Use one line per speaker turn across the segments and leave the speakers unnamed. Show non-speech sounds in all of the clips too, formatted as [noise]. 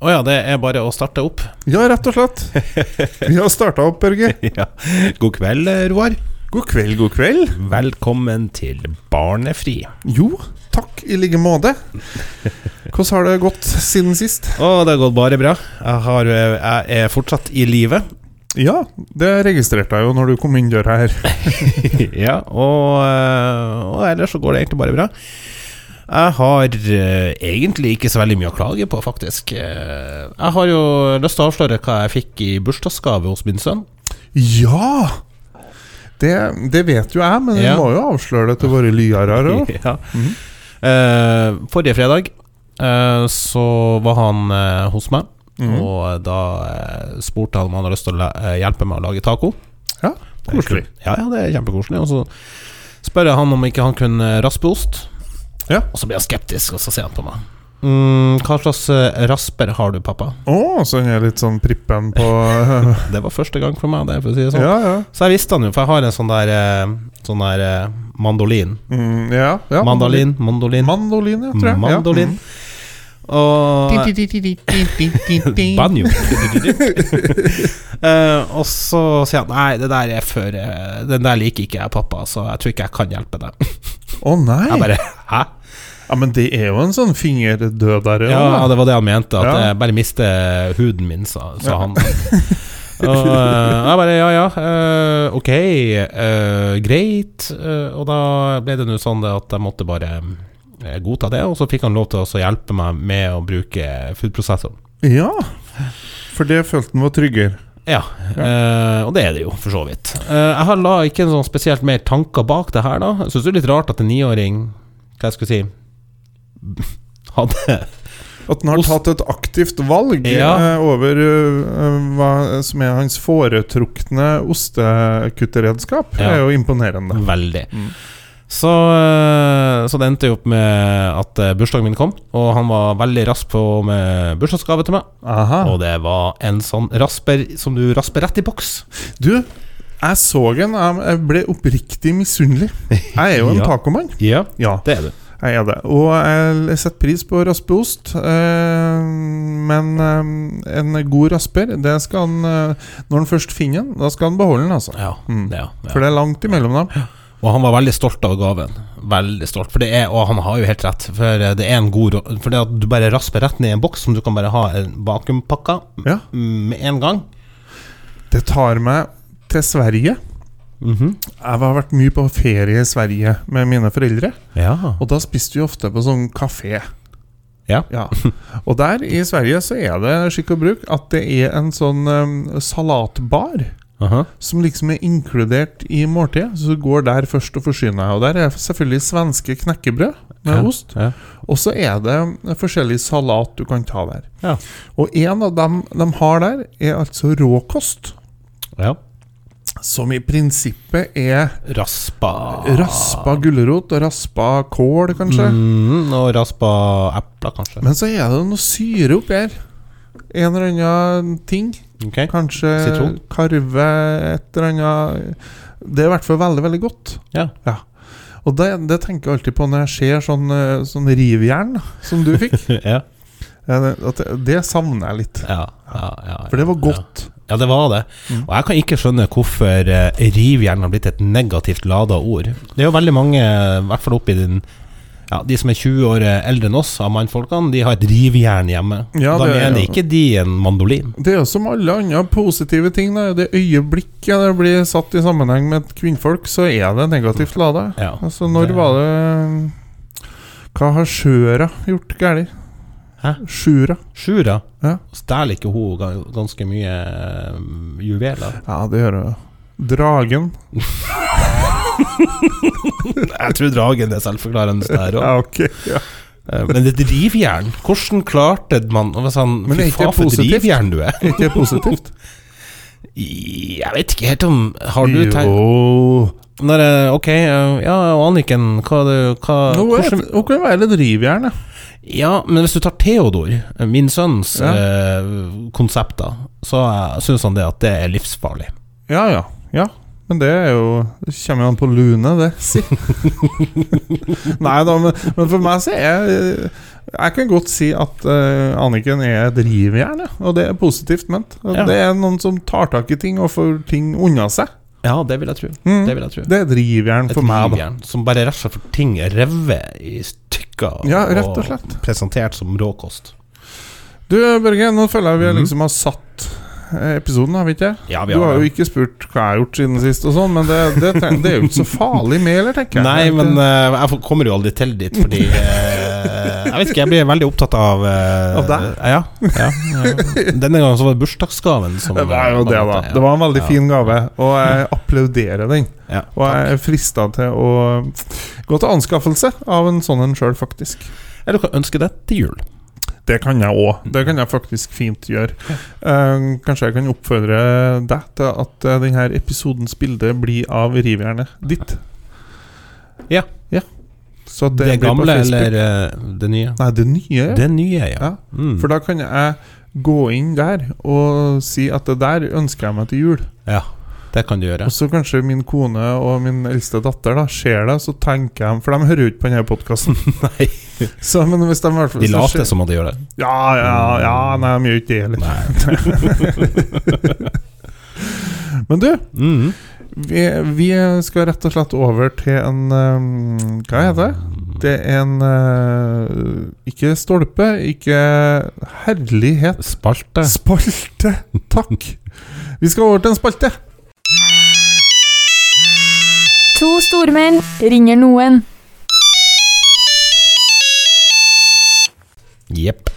Å ja, det er bare å starte opp.
Ja, rett og slett. Vi har starta opp, Børge.
[laughs] Ja. God kveld, eh, Roar.
God kveld, god kveld.
Velkommen til Barnefri.
Jo, takk i like måte. Hvordan har det gått siden sist?
Å, det har gått bare bra. Jeg, har, eh, jeg er fortsatt i live.
Ja, det registrerte jeg jo når du kom inn døra her.
[laughs] ja, og, eh, og ellers så går det egentlig bare bra. Jeg har eh, egentlig ikke så veldig mye å klage på, faktisk. Eh, Jeg har jo lyst til å avsløre hva jeg fikk i bursdagsgave hos min sønn.
Ja! Det, det vet jo jeg, men vi
Ja.
må jo avsløre det til våre lyere òg.
[laughs] Ja. Eh, forrige fredag eh, så var han eh, hos meg,
Mm.
og da eh, spurte han om han hadde lyst til å la- eh, hjelpe meg å lage taco.
Ja, koselig.
Ja, ja, det er kjempekoselig. Og så spør jeg han om ikke han kunne raspe ost,
Ja.
og så blir han skeptisk, og så ser han på meg. Mm, hva slags eh, rasper har du, pappa?
Å, så han er litt sånn prippen [laughs] på
Det var første gang for meg, det, for å si det sånn.
Ja, ja.
Så jeg visste han jo, for jeg har en sånn der, eh, sånn der eh, mandolin.
Mm, ja, ja.
Mandolin, mandolin,
Mandolin, ja, tror jeg.
mandolin. Mhm. Og [laughs]
Ja. Mm.
Banjo. [laughs] Eh, og så sier han nei, det der er for eh, Den der liker ikke jeg, pappa, så jeg tror ikke jeg kan hjelpe deg.
Å nei!
Jeg bare [laughs] hæ?
Ja, Men det er jo en sånn fingerdød der
Ja,
også, da.
det var det han mente. At
Ja.
jeg bare mister huden min, sa, sa han. Og eh, jeg bare ja, ja, eh, ok, eh, greit. Eh, og da ble det nå sånn det at jeg måtte bare eh, godta det, og så fikk han lov til også å hjelpe meg med å bruke foodprosessoren.
Ja, for det følte han var tryggere.
Ja, eh, og det er det jo, for så vidt. Eh, jeg har la ikke en sånn spesielt mer tanker bak det her, da. Jeg syns det er litt rart at en niåring, hva jeg skulle si [laughs] hadde
At han har
Ost-
tatt et aktivt valg
Ja.
eh, over eh, hva som er hans foretrukne ostekutteredskap,
Ja.
er jo imponerende.
Veldig.
Mm.
Så, eh, så det endte jo opp med at eh, bursdagen min kom, og han var veldig rask på med bursdagsgave til meg.
Aha.
Og det var en sånn rasper som du rasper rett i boks.
Du, jeg så en, jeg- jeg ble oppriktig misunnelig. Jeg er jo
[laughs]
en
Ja.
tacomann.
Ja,
Ja,
det er du.
jeg er det. Og jeg setter pris på raspeost, eh, men eh, en god rasper, det skal han eh, Når han først finner den, da skal han beholde den, altså.
Ja,
Mm.
det, ja, ja.
For det er langt imellom dem.
Og han var veldig stolt av gaven. Veldig stolt. For det er, og han har jo helt rett, for det er en god rå- For det at du bare rasper rett ned i en boks som du kan bare ha en vakuumpakka
Ja.
med en gang.
Det tar meg til Sverige. Mhm. Jeg har vært mye på ferie i Sverige med mine foreldre.
Ja.
Og da spiste vi ofte på sånn kafé.
Ja.
Og der i Sverige så er det skikk og bruk at det er en sånn em, salatbar
Aha.
som liksom er inkludert i måltidet. Så du går der først og forsyner deg. Og der er selvfølgelig svenske knekkebrød med
Ja.
ost.
Ja.
Og så er det forskjellig salat du kan ta der.
Ja.
Og en av dem de har der, er altså råkost.
ja.
Som i prinsippet er
Raspa
Ah. Raspa gulrot og raspa kål, kanskje.
mm, Og raspa epler, kanskje.
Men så er det noe syre oppi her. En eller annen ting.
Ok.
Kanskje
Sitron?
karve et eller annet Det er i hvert fall veldig, veldig godt.
Ja. [laughs]
Og det, det tenker jeg alltid på når jeg ser sånn, eh, sånn rivjern som
[laughs]
du fikk.
ja.
Eh, det- At det- det savner jeg litt.
Ja, ja, ja,
For det var
ja.
godt.
Ja, det var det.
Mm.
Og jeg kan ikke skjønne hvorfor eh, rivjern har blitt et negativt lada ord. Det er jo veldig mange, i hvert fall oppi den ja, De som er 20 år eldre enn oss, av mannfolkene, de har et rivjern hjemme.
Ja,
da
det er-
mener
ja.
ikke de en mandolin.
Det er jo som alle andre positive ting. Da. Det øyeblikket det blir satt i sammenheng med et kvinnfolk, så er det negativt lada.
Ja.
Altså, når
Det-
var det Hva har Sjøra gjort galt?
Hæ?
Sjura.
Sjura,
Ja.
stjeler ikke hun ga- ganske mye eh, juveler?
Ja, det hører jeg. Dragen.
Jeg tror dragen er selvforklarende der òg.
Ja, ok. Ja.
Men et rivjern, hvordan klarte man og sånn,
Men er
Fy
ikke
faen,
det
for et
positivt?
rivjern
[laughs]
du er.
Er [laughs] ikke det positivt?
Jeg vet ikke helt om [laughs] Har du tenkt
Jo
Når, jeg- ok, eh, ja, og Anniken, hva, du- hva
Nå er
hvordan,
det- Nå kan det være litt rivjern, ja.
Ja, men hvis du tar Theodor, eh, min sønns
Ja.
eh, konsept, da, så syns han det at det er livsfarlig.
Ja, ja. ja. Men det er jo det kommer jo an på lune, det. [laughs] Si. Nei da, men, men for meg så er Jeg kan godt si at eh, Anniken er et rivjern, ja. Og det er positivt ment. Og
Ja.
Det er noen som tar tak i ting og får ting unna seg.
Ja, det vil jeg tro.
Mm.
Det vil jeg tro.
Det er et rivjern
Et
for meg, da.
livjern som bare rett og slett får ting revet i stykker.
Ja, rett og slett.
presentert som råkost.
Du Børge, nå føler jeg vi
Mhm.
liksom har satt eh, episoden, har vi ikke?
Ja,
Du har jo
det.
ikke spurt hva jeg har gjort siden sist, og sånn men det, det, tenk- det er jo ikke så farlig med, eller, tenker jeg.
Nei,
Det-
men eh, jeg får- kommer jo aldri til dit, fordi eh, Jeg vet ikke, jeg blir veldig opptatt av eh,
Av deg?
Ja, ja, ja. Denne gangen så var det bursdagsgaven som eh,
Det var jo det, da.
Ja.
Det var en veldig
Ja.
fin gave, og jeg applauderer den.
Ja.
Og jeg er frista til å gå til anskaffelse av en sånn en sjøl, faktisk.
Eller du kan ønske deg til jul.
Det kan jeg òg. Det kan jeg faktisk fint gjøre. Eh, kanskje jeg kan oppfordre deg til at eh, denne episodens bilde blir av rivjernet ditt.
Ja.
Så det,
Det,
blir på
gamle
Facebook.
eller eh, det nye?
Nei, det nye.
Det nye, ja.
Ja.
Mm.
For da kan jeg gå inn der og si at det der ønsker jeg meg til jul.
ja. Det kan du gjøre.
Og så kanskje min kone og min eldste datter da ser det, så tenker de For de hører jo ikke på denne podkasten.
[laughs] Nei,
Men hvis de i hvert fall
de
så ser-
later som om de gjør det.
Ja, ja, ja. Nei, [laughs] de gjør ikke det heller.
Nei.
Men du,
Mm.
vi, vi skal rett og slett over til en eh, Hva heter det? Det er en eh, Ikke stolpe, ikke herlighet
Spalte.
Spalte! Takk. Vi skal over til en spalte.
To stormenn ringer noen.
Jepp.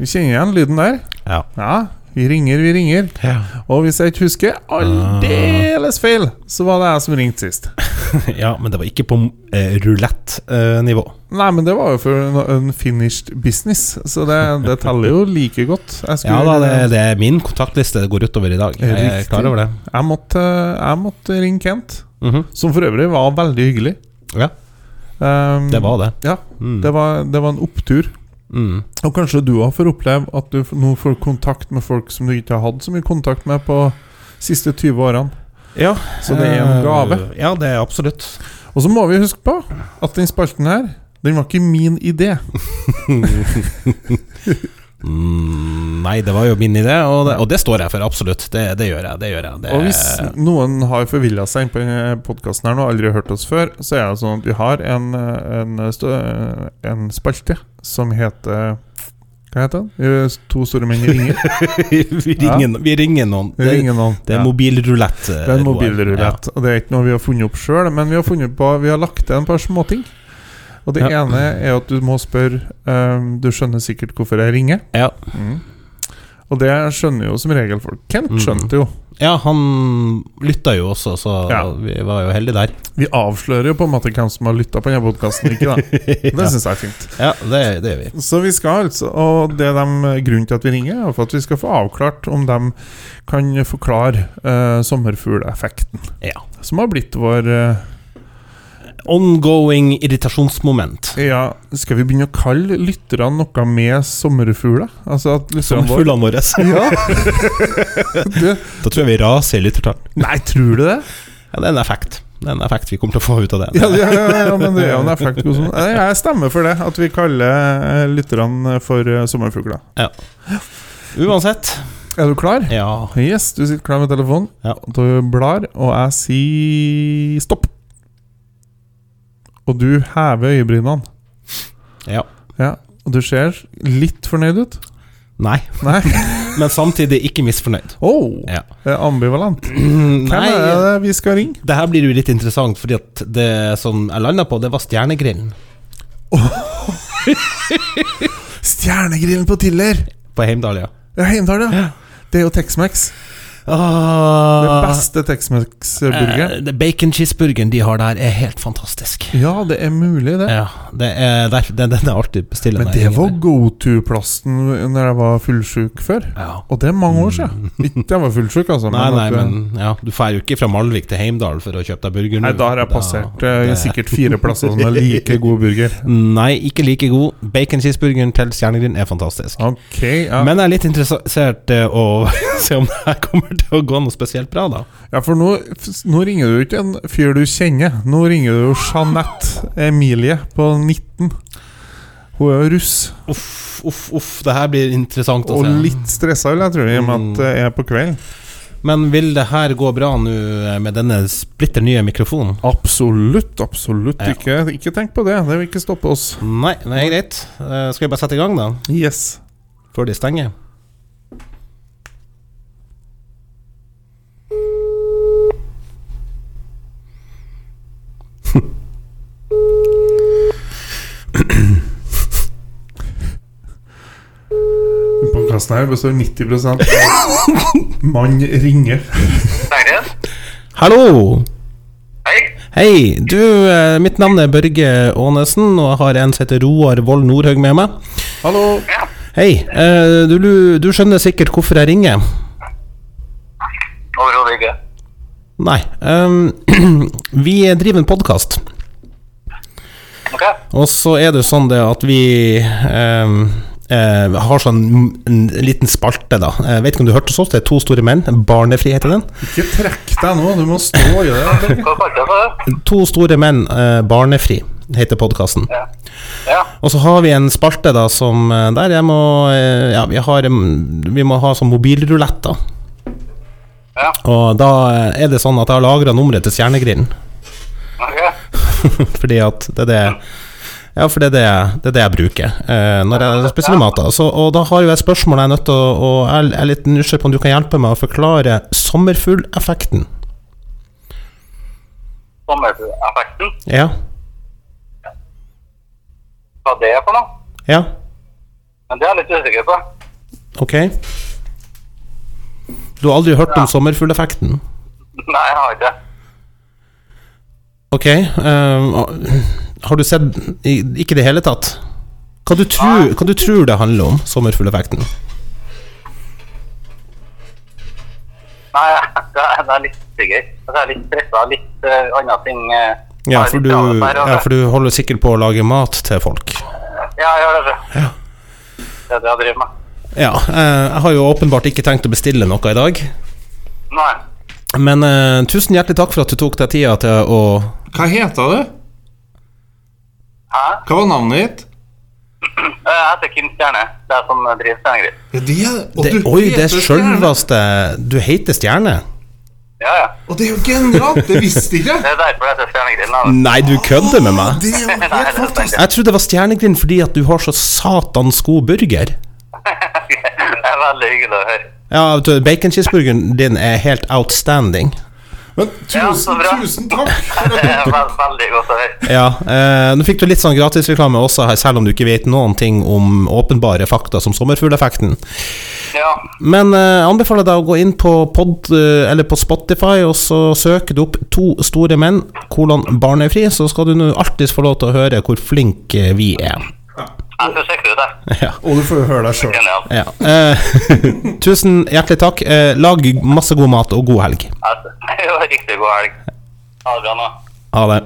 Vi kjenner igjen lyden der.
Ja.
Ja, vi ringer, vi ringer.
Ja.
Og hvis jeg ikke husker aldeles feil, så var det jeg som ringte sist.
[laughs] ja, men det var ikke på eh, rulett-nivå.
Nei, men det var jo for en unfinished business, så det, det teller jo like godt. Jeg,
ja
skulle,
da, det, det er min kontaktliste det går utover i dag. Jeg er
Riktig.
klar over det.
jeg, måtte, jeg måtte ringe Kent,
Mhm.
som for øvrig var veldig hyggelig.
Ja,
Um,
det var det.
Ja,
Mm.
det var, det var en opptur.
Mm.
Og kanskje du òg får oppleve at du f- nå får kontakt med folk som du ikke har hatt så mye kontakt med på siste 20 årene.
Ja, eh,
Så det er en gave.
Ja, det er absolutt.
Og så må vi huske på at den spalten her, den var ikke min idé.
Mm, nei, det var jo min idé, og det, og det står jeg for. Absolutt. Det, det gjør jeg. Det gjør jeg. Det,
Og hvis noen har forvilla seg inn på podkasten her nå og aldri hørt oss før, så er det sånn at vi har en, eh, en, stø- en spalte som heter Hva heter den? Eh, To store menn
[laughs]
ringer.
[laughs] vi, ringer, vi ringer noen.
Vi
Det,
ringer noen.
det er
Ja.
mobilrulett.
Det er en mobilrulett. Og det er ikke noe vi har funnet opp sjøl, men vi har funnet på Vi har lagt til en par småting. Og det
Ja.
ene er at du må spørre eh, Du skjønner sikkert hvorfor jeg ringer.
Ja.
Mm. Og det skjønner jo som regel folk. Kent
Mm.
skjønte jo.
Ja, han lytta jo også, så
Ja.
vi var jo heldige
[laughs]
der.
Vi avslører jo på en måte hvem som har lytta på denne podkasten,
[laughs]
ikke da? [laughs] Det
ja,
syns jeg er fint.
ja det, det gjør vi.
Så vi skal altså, og det er dem- eh, grunnen til at vi ringer, er for at vi skal få avklart om de kan forklare eh, sommerfugleffekten,
Ja.
som har blitt vår eh,
Ongoing irritasjonsmoment.
Ja, skal vi begynne å kalle lytterne noe med sommerfugler? Altså at lytterne [laughs] våre
Sommerfuglene våre.
Ja! du,
Da tror jeg vi raser i lyttertall.
nei, tror du det?
Ja, det er en effekt. Det er en effekt vi kommer til å få ut av det.
Ja, ja, ja, ja men det er jo en effekt. god [laughs] som- Nei, Jeg stemmer for det, at vi kaller eh, lytterne for eh, sommerfugler.
Uansett.
Er du klar?
Ja.
Yes, du sitter klar med telefonen.
Ja.
Du blar, og jeg sier stopp. Og du hever øyebrynene.
ja.
Ja, og du ser litt fornøyd ut.
Nei. [laughs]
Nei?
Men samtidig ikke
[clears throat]
misfornøyd.
Oh,
Ja.
det er ambivalent. Hvem
Nei,
er det vi skal ringe?
det her blir jo litt interessant, fordi at det som jeg landa på, det var Stjernegrillen
Stjernegrillen på Tiller!
på Heimdal, ja.
Ja, Heimdal, ja. Det er jo Tex-Mex. Det
Ah,
beste Tex-Mex-burgeren.
eh, det bacon cheeseburgeren de har der, er helt fantastisk.
Ja, det er mulig, det.
Ja, det er der, den, den Eh. er alltid bestillende.
Men det var go to-plasten når jeg var fullsjuk før.
ja.
Og det er mange år siden. Ikke jeg var fullsjuk, altså.
Mm. [laughs] Nei,
men
nei,
at, eh,
men ja, du drar jo ikke fra Malvik til Heimdal for å kjøpe deg burger nå.
Nei, da har jeg
Da-
passert eh,
det-
sikkert fire plasser [laughs] som er like god burger.
Nei, ikke like god. Bacon cheeseburgeren til Stjernegrillen er fantastisk.
Ok, ja.
Men jeg er litt interessert i å [laughs] se om det her kommer til å gå noe spesielt bra, da.
Ja, for nå, f- nå ringer du jo ikke en fyr du kjenner. Nå ringer du jo Jeanette Emilie på 19. Hun er jo russ,
Uff, uff, uff. Det her blir interessant å
og
se.
litt stressa, vil jeg tro, i og med
Mm.
at det er på kvelden.
Men vil det her gå bra nå eh, med denne splitter nye mikrofonen?
Absolutt, absolutt
Ja.
ikke. Ikke tenk på det. Det vil ikke stoppe oss.
Nei, det er greit. Eh, Skal vi bare sette i gang, da?
Yes.
Før de stenger?
Podkasten her består 90 av [laughs] mann ringer.
Steingren?
Hallo!
Hei.
Hei, du, eh, mitt navn er Børge Ånesen, og jeg har en som heter Roar Vold Nordhaug med meg.
Hallo!
Ja.
Hei, eh, du, lu- du skjønner sikkert hvorfor jeg ringer.
Overhodet ikke.
Nei, ehm, [clears throat] vi driver en podkast,
Ok.
og så er det sånn det at vi ehm, eh, har sånn en liten spalte, da. Jeg vet ikke om du hørte oss, det er To store menn. Barnefri heter den.
Ikke trekk deg nå, du må stå i det.
Hva kalte jeg det?
To store menn, eh, barnefri, heter podkasten.
Ja. ja.
Og så har vi en spalte da som eh, der jeg må eh, Ja, vi, har, mm, vi må ha sånn mobilrulett, da.
Ja.
Og da eh, er det sånn at jeg har lagra nummeret til Stjernegrillen.
Ok.
[laughs] Fordi at det er det Ja, for det er det, jeg- det, er det jeg bruker eh, når jeg spiser mat. da så, Og da har jo jeg et spørsmål jeg er nødt til å Og jeg er litt nysgjerrig på om du kan hjelpe meg å forklare sommerfugleffekten.
Sommerfugleffekten.
Ja?
Hva det er for noe?
Ja?
Men det er jeg litt usikker på.
Ok? Du har aldri hørt om sommerfugleffekten?
Nei, jeg har ikke.
Ok, ehm, har du sett i- Ikke i det hele tatt? Hva du, tror, hva du tror det handler om, sommerfugleffekten?
Nei, det er, det er litt usikker. Altså, Jeg er litt stressa. Litt eh, andre ting. eh,
Ja
har
for,
litt
du,
travelt her, og
ja,
det-
for du holder sikkert på å lage mat til folk.
Ja, jeg gjør det. så. Det er det jeg driver med.
Ja, eh, jeg har jo åpenbart ikke tenkt å bestille noe i dag.
Nei.
Men eh, tusen hjertelig takk for at du tok deg tida til å
Hva heter du?
Hæ?
Hva var navnet ditt?
Eh, Jeg heter Kim Stjerne. Det er jeg som driver Stjernegris.
Ja, det er, og
det,
du
Oi, det er
heter Stjerne.
sjølveste Du heter Stjerne?
Ja, ja.
Og det er jo genialt! Det visste ikke jeg!
[laughs] Det er derfor jeg heter Stjernegrillen.
Nei, du kødder med meg?
Det er
[laughs]
jo
Nei,
helt
det er
fantastisk.
sant.
Jeg trodde det var Stjernegrind fordi at du har så satans god burger.
[laughs] Det er veldig hyggelig å
[laughs]
høre.
Ja, vet du, baconcheeseburgeren din er helt outstanding.
Men
Ja, så
tusen,
bra.
tusen takk!
Det er vel- veldig godt å høre.
Ja, eh, Nå fikk du litt sånn gratisreklame også her, selv om du ikke vet noen ting om åpenbare fakta som sommerfugleffekten.
Ja.
Men eh, jeg anbefaler deg å gå inn på pod, eh, eller på Spotify, og så søker du opp To store menn, kolon barnefri, så skal du nå alltid få lov til å høre hvor flink eh, vi er.
Jeg skal sjekke det ut, jeg.
Og du får jo høre deg sjøl.
Genialt.
Ja. Eh, [laughs] tusen hjertelig takk. Eh, lag masse god mat, og god helg.
Altså, [laughs] det var riktig god helg. Ha det bra nå.
Ha det.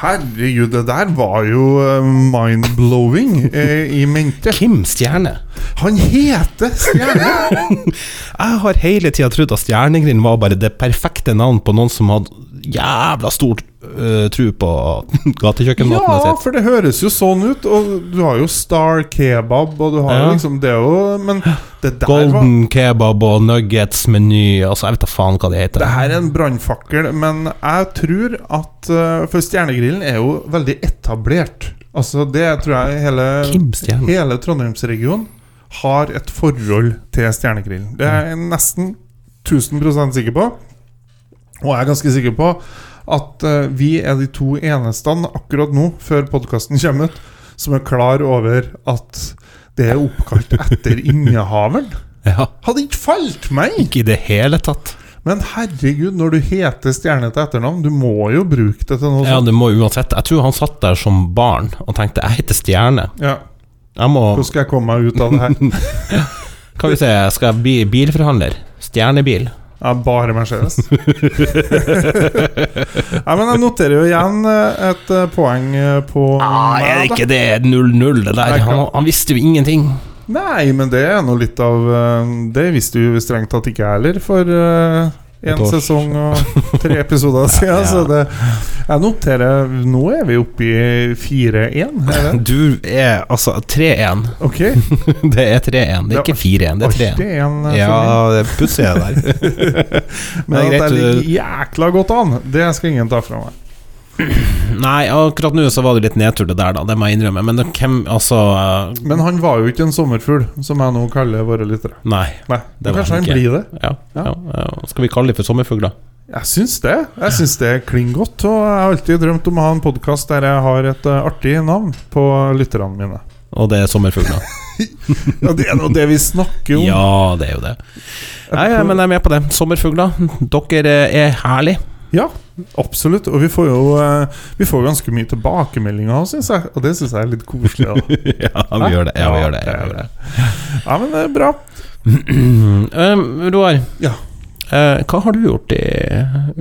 Herregud, det der var jo eh, mind-blowing eh, i mente.
Kim Stjerne.
Han heter Stjerne!
[laughs] Jeg har hele tida trodd at Stjernegrind var bare det perfekte navn på noen som hadde jævla stor øh, tru på [laughs] gatekjøkkenmaten
Ja,
sitt.
for det høres jo sånn ut. Og du har jo Star Kebab, og du har jo
Ja.
liksom det jo Men det der var
Golden kebab og nuggets-meny, altså jeg vet da faen hva det heter.
det her er en brannfakkel, men jeg tror at eh, For Stjernegrillen er jo veldig etablert. Altså, det tror jeg hele
Kim Stjerne.
Hele Trondheimsregionen har et forhold til Stjernegrillen. Det er jeg nesten 1000 sikker på. Og jeg er ganske sikker på at eh, vi er de to eneste akkurat nå, før podkasten kommer ut, som er klar over at det er oppkalt etter innehaveren.
Ja,
Hadde ikke falt meg!
ikke i det hele tatt.
Men herregud, når du heter Stjerne til etternavn, du må jo bruke det til noe
Ja,
sånt.
det må uansett Jeg tror han satt der som barn og tenkte 'jeg heter Stjerne'.
Ja,
Jeg må
Hvordan skal jeg komme meg ut av det her?
Kan vi se, skal jeg bli bilforhandler? Stjernebil.
Ja, bare
[laughs]
Mercedes. Nei, men jeg noterer jo igjen eh, et eh, poeng eh, på
Ah, er det
meg, da.
ikke det 0-0, det der?
Nei,
Han, han visste jo ingenting.
Nei, men det er nå litt av eh, Det visste jo strengt tatt ikke jeg heller for
Et
én
år
sesong og
[laughs]
tre episoder siden. Så det, jeg noterer Nå er vi oppe i 4-1.
[laughs]
er det?
Du er altså 3-1.
Ok.
[laughs] Det er 3-1, det er ikke 4-1, det er 3-1.
Alltid en, eh,
Ja,
som-
det [laughs] pussig er det der. [laughs] det er
Men at jeg
greit,
ligger jækla godt an, det skal ingen ta fra meg.
Nei, akkurat nå så var det litt nedtur det der, da, det må jeg innrømme. Men det, hvem, altså eh,
Men han var jo ikke en sommerfugl, som jeg nå kaller våre lyttere.
Nei.
Nei,
Det
men
var
kanskje
han
han
ikke.
blir det.
Ja,
Ja.
ja, ja. Skal vi kalle de for sommerfugler?
Jeg syns det. Jeg syns det klinger godt. Og jeg har alltid drømt om å ha en podkast der jeg har et eh, artig navn på lytterne mine.
Og det er sommerfugler.
Ja, Det er nå det vi snakker om.
Ja, det er jo det. Nei, ja, men jeg er med på det. Sommerfugler, dere er [laughs] herlige.
Ja, absolutt. Og vi får jo eh, Vi får ganske mye tilbakemeldinger òg, syns jeg. Og det syns jeg er litt koselig. Da.
[laughs] Ja, vi gjør det. Ja, vi gjør det. Ja, vi gjør det.
Ja, men det er bra.
Eh, Roar,
Ja.
Eh, hva har du gjort i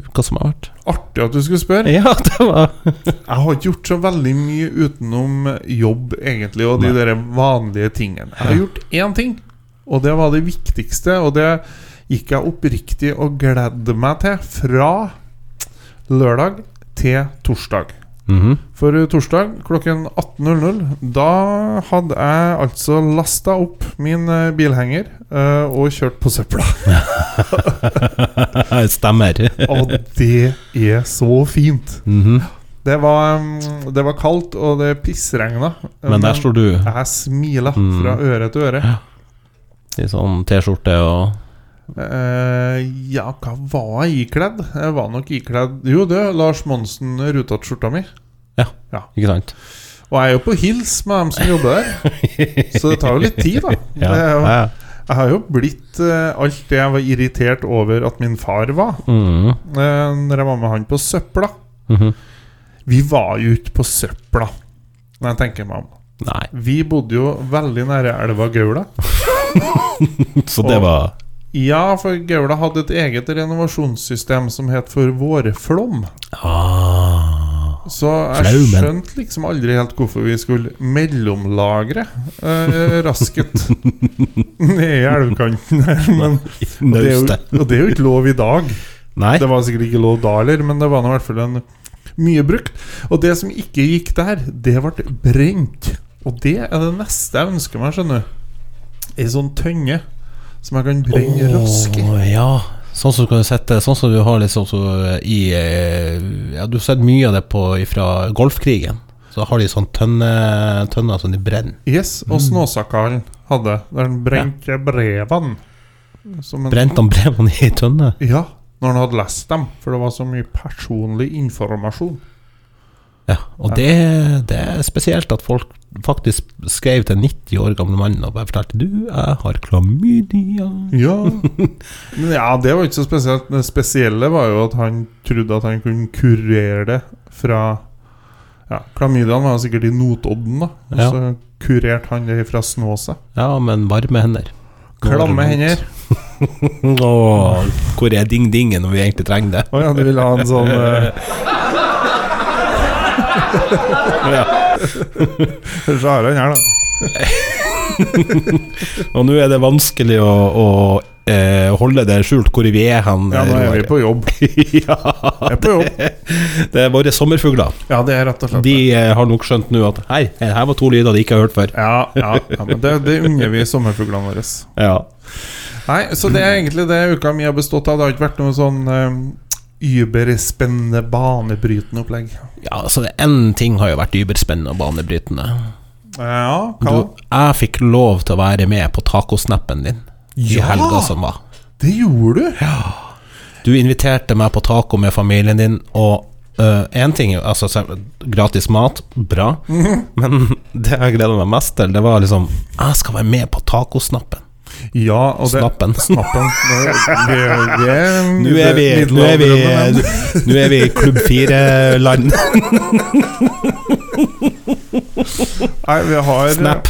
uka som har
[laughs]
vært?
Artig at du skulle spørre.
Ja, det var
Jeg har ikke gjort så veldig mye utenom jobb, egentlig, og de der vanlige tingene. Jeg har gjort én ting, og det var det viktigste, og det gikk jeg oppriktig og gledde meg til fra lørdag til torsdag.
Mhm.
For eh, torsdag klokken 18.00 Da hadde jeg altså lasta opp min eh, bilhenger eh, og kjørt på søpla.
[laughs] Stemmer.
Og det er så fint!
Mhm.
Det var, mm, det var kaldt, og det pissregna.
Men der står du
Jeg smila
Mm.
fra øre til øre.
i sånn T-skjorte og
Eh, ja, hva var jeg ikledd? Jeg var nok ikledd Jo, det Lars Monsen Rutat-skjorta mi.
Ikke
[laughs]
sant?
Og jeg er jo på hils med dem som jobber der, så det tar jo
[laughs]
litt tid, da.
Ja,
Det er jo-
ja.
Jeg har jo blitt eh, alt det jeg var irritert over at min far var,
Mhm,
uh, når jeg var med han på søpla.
mhm.
Vi var jo ute på søpla, når jeg tenker meg om.
Nei,
Vi bodde jo veldig nære elva Gaula.
så det
Og-
var
Ja, for Gaula hadde et eget renovasjonssystem som het for Vårflom.
ah.
Så jeg
Flaumen.
skjønte liksom aldri helt hvorfor vi skulle mellomlagre eh, rasket nede i elvekanten her. Men det er, jo,
Naustet.
og det er jo ikke lov i dag.
Nei.
Det var sikkert ikke lov da heller, men det var nå i hvert fall en mye brukt. Og det som ikke gikk der, det ble brent. Og det er det neste jeg ønsker meg, skjønner du. Ei sånn tønne som jeg kan brenne rask i.
Åh, ja. Sånn som du kan sette Sånn som du har liksom så i eh, Ja, du har sett mye av det på fra Golfkrigen. Så har de sånn tønne, tønner som de brenner.
Yes,
Mm.
og Snåsakallen hadde der han brente brevene. Som en-
Brente han brevene i tønne?
Ja, når han hadde lest dem, for det var så mye personlig informasjon.
Ja, og det, det er spesielt at folk faktisk skrev til 90 år gamle mannen og bare fortalte Du, jeg har klamydia.
Ja, [laughs] Men ja det var ikke så spesielt. Det spesielle var jo at han trodde at han kunne kurere det fra ja, Klamydiaen var jo sikkert i Notodden, da. Og
Ja.
så kurerte han det fra Snåsa.
Ja, men varme hender.
Klamme hender.
Åh, hvor er ding-dingen når vi egentlig trenger det?
Å ja, du ville ha
[laughs]
en sånn eh, [laughs] [laughs] Så har han her, da.
Og nå er det vanskelig å, å eh, holde det skjult hvor vi er hen.
Ja, nå er vi
Roar.
på jobb.
[laughs] ja,
Jeg er på jobb.
det er våre sommerfugler.
Ja, det er rett og slett
De eh, har nok skjønt nå at Hei, her var to lyder de ikke har hørt før.
Ja, ja, ja men det, det unner vi sommerfuglene våre.
Ja.
Nei, så det er egentlig det uka mi har bestått av. Det har ikke vært noe sånn eh, überspennende, banebrytende opplegg.
ja, så det én ting har jo vært überspennende og banebrytende.
Eh, Ja, hva?
Du, jeg fikk lov til å være med på tacosnappen din i
Ja!
helga som var.
Det gjorde du!
Du inviterte meg på taco med familien din, og én ting er jo, altså, selv- Gratis mat, [laughs] bra, men det jeg gleda meg mest til, det var liksom Jeg skal være med på tacosnappen.
Ja, og det
Snappen.
[laughs] Snappen. Det, det, det,
Nå er vi, nå er vi,
middelaldrende menn.
[laughs] nå er vi i Klubb [laughs] 4-land.
Nei, vi har
Snap.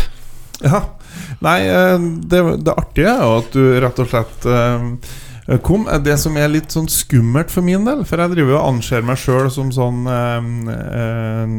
Ja. Nei, eh, det, det artige er jo at du rett og slett eh, Kom, det som er litt sånn skummelt for min del, for jeg driver jo og anser meg sjøl som sånn eh, eh,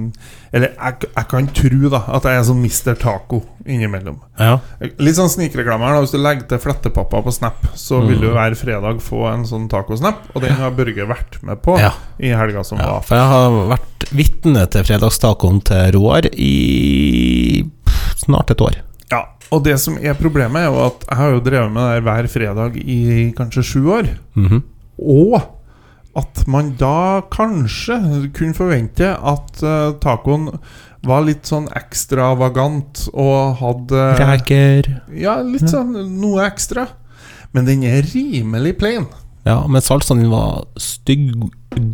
Eller jeg, jeg kan tro da at jeg er sånn Mr. Taco innimellom.
Ja.
Litt sånn snikreklame her da Hvis du legger til flettepappa på Snap, så
Mm.
vil du hver fredag få en sånn tacosnap, og den har Børge vært med på
Ja.
i helga som
ja.
var.
For jeg har vært vitne til fredagstacoen til Roar i pff, snart et år.
Ja, og det som er problemet, er jo at jeg har jo drevet med det her hver fredag i kanskje sju år.
Mhm.
Og at man da kanskje kunne forvente at eh, tacoen var litt sånn ekstravagant og hadde
Reker
Ja, litt sånn noe ekstra. Men den er rimelig plain.
Ja, men salsaen din var stygg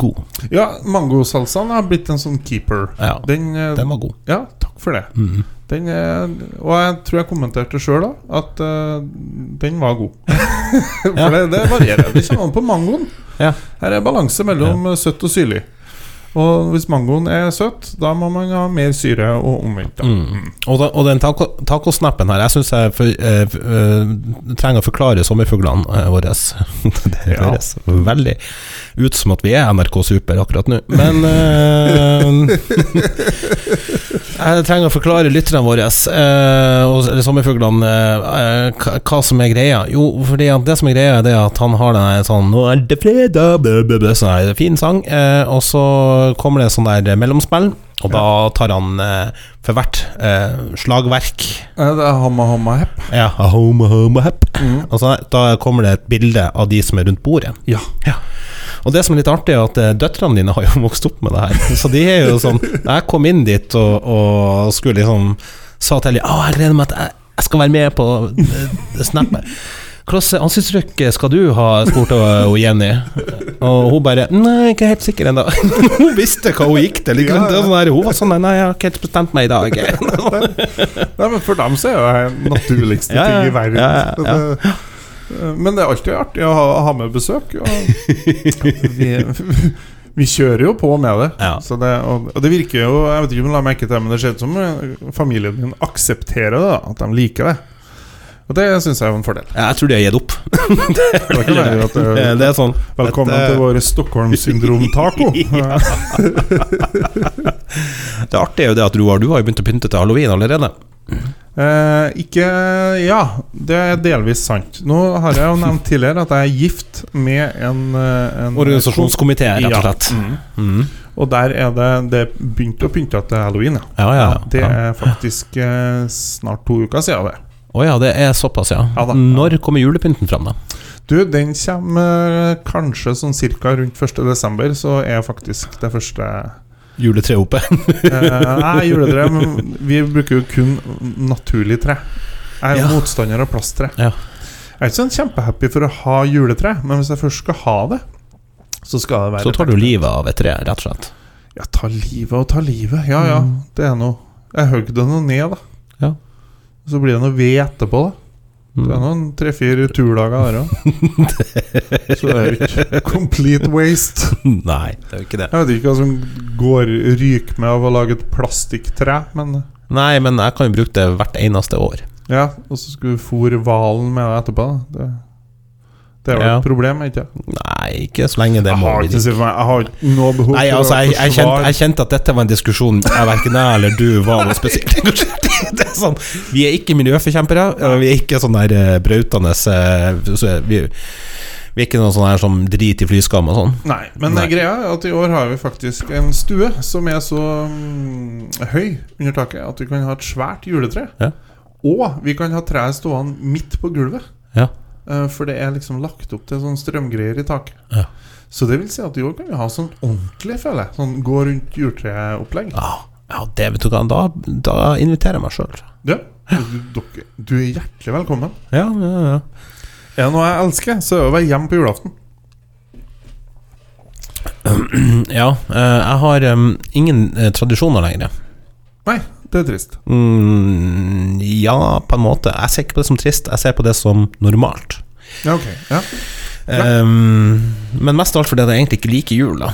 god.
Ja, mangosalsaen har blitt en sånn keeper.
Ja,
Den, eh,
den var god.
Ja, takk for det.
Mhm.
Den er, og jeg tror jeg kommenterte sjøl da at eh, den var god. [laughs] For
Ja.
det, det varierer. Det kommer an på mangoen.
Ja.
Her er balanse mellom eh, søtt og syrlig. Og hvis mangoen er søt, da må man ha mer syre og omvendt. da.
Mm. Og, da, og den taco, tacosnappen her, jeg syns jeg for, eh, f- eh, trenger å forklare sommerfuglene eh, våre. [laughs] det
Ja.
høres veldig ut som at vi er NRK Super akkurat nå, men eh, [laughs] Jeg trenger å forklare lytterne våre eh, og eller sommerfuglene eh, eh, hva- hva som er greia. Jo, fordi at det som er greia, er det at han har den her sånn 'Nå er det fredag!' Bø, bø, bø, sånn her fin sang, eh, og så kommer det sånn der mellomspill, og da tar han eh, for hvert eh, slagverk
Eh, Det er hamma hamma hepp.
ja, a home, a home, a hep. Og så Da kommer det et bilde av de som er rundt bordet.
Ja.
Og det som er litt artig, er at eh, døtrene dine har jo [laughs] vokst opp med det her. Så de er jo sånn Da jeg kom inn dit og, og skulle liksom Sa til Ellie Å, jeg gleder meg til jeg, jeg skal være med på eh, snappet. Hvilket ansiktsuttrykk skal du ha? spurte hun hun Jenny. Og hun bare Nei, ikke helt sikker ennå. [laughs] hun visste hva hun gikk til. Ikke sant? Det var sånn der, hun var sånn Nei, jeg har ikke helt bestemt meg i dag. [laughs]
Nei, men For dem så er det den naturligste
Ja, ja,
ting i verden.
ja, ja, ja.
Det- Men det er alltid artig å ha, ha med besøk.
[laughs]
Og vi, vi kjører jo på med det.
Ja.
Så det og, og det virker jo Jeg vet ikke om du la merke til det, men det ser ut som eh, familien din aksepterer det. da, At de liker det. Og det syns jeg er en fordel.
Jeg tror de har gitt opp.
Det er ikke
Eller,
veldig
[laughs]
at det-
det, er sånn
Velkommen
dette-
til vår Stockholm-syndrom-taco.
[laughs] Ja. Det artige er jo det at Roar, du har jo begynt å pynte til halloween allerede.
Eh, ikke Ja, det er delvis sant. Nå har jeg jo nevnt tidligere at jeg er gift med en, eh, en
Organisasjonskomité, rett og slett.
Ja. Mm.
Mm.
Og der er det Det er begynt å pynte til halloween, ja.
Ja, ja.
Det
ja.
er faktisk eh, snart to uker siden det.
Å ja, det er såpass, ja.
Ja da.
Når kommer julepynten fram, da?
Du, den kommer eh, kanskje sånn cirka rundt 1. desember, så er faktisk det første
Juletreet oppe?
eh, Nei, juletre, men vi bruker jo kun naturlig tre. Jeg er
Ja.
motstander av plasttre.
Ja.
Jeg er ikke sånn kjempehappy for å ha juletre, men hvis jeg først skal ha det, så skal det
[laughs]
være
Så tar du livet av et tre, rett og slett.
Ja, ta livet og ta livet. Ja, ja, det er noe. Jeg hogg det nå ned, da.
Mm. Ja.
Så blir det noe ved etterpå, da. Det er
Mm.
noen tre-fire turdager der òg.
[laughs]
Så det er jo ikke complete waste.
Mm. Nei, det er jo ikke det.
Jeg vet ikke hva som går ryker med av å lage et plastikktre, men
Nei, men jeg kan jo bruke det hvert eneste år.
Ja, og så skulle du fôre hvalen med det etterpå. da. Det, det er jo
Ja.
et problem, ikke sant?
Nei, ikke så lenge det
Jeg
må
har
bli
ikke for meg Jeg har ikke noe behov
Nei,
for
altså,
å
jeg, jeg, kjente,
forsvare
jeg kjente at dette var en diskusjon jeg verken jeg eller du var noe spesielt [laughs] engasjert i. Det er sånn, vi er ikke miljøforkjempere, og vi er ikke sånn der eh, brautende eh, så vi, vi er ikke noen sånn her som driter i flyskam og sånn.
Nei, men
Nei.
greia er at i år har vi faktisk en stue som er så mm, høy under taket at vi kan ha et svært juletre.
Ja.
Og vi kan ha treet stående midt på gulvet.
Ja.
Eh, For det er liksom lagt opp til sånn strømgreier i taket.
Ja.
Så det vil si at i år kan vi ha sånn ordentlig, føler jeg. Sånn gå rundt juletreopplegg.
Ja, ja det vet du hva, da, da inviterer jeg meg sjøl.
Ja. Du, dere- du er hjertelig velkommen.
Ja, ja, ja.
Er det noe jeg elsker, så er det å være hjemme på julaften.
ja eh, jeg har em, ingen eh, tradisjoner lenger.
Nei, det er trist.
Mm, ja, på en måte. Jeg ser ikke på det som trist, jeg ser på det som normalt.
Ja, ok. Ja.
Ehm, men mest av alt fordi jeg egentlig ikke liker jul, da.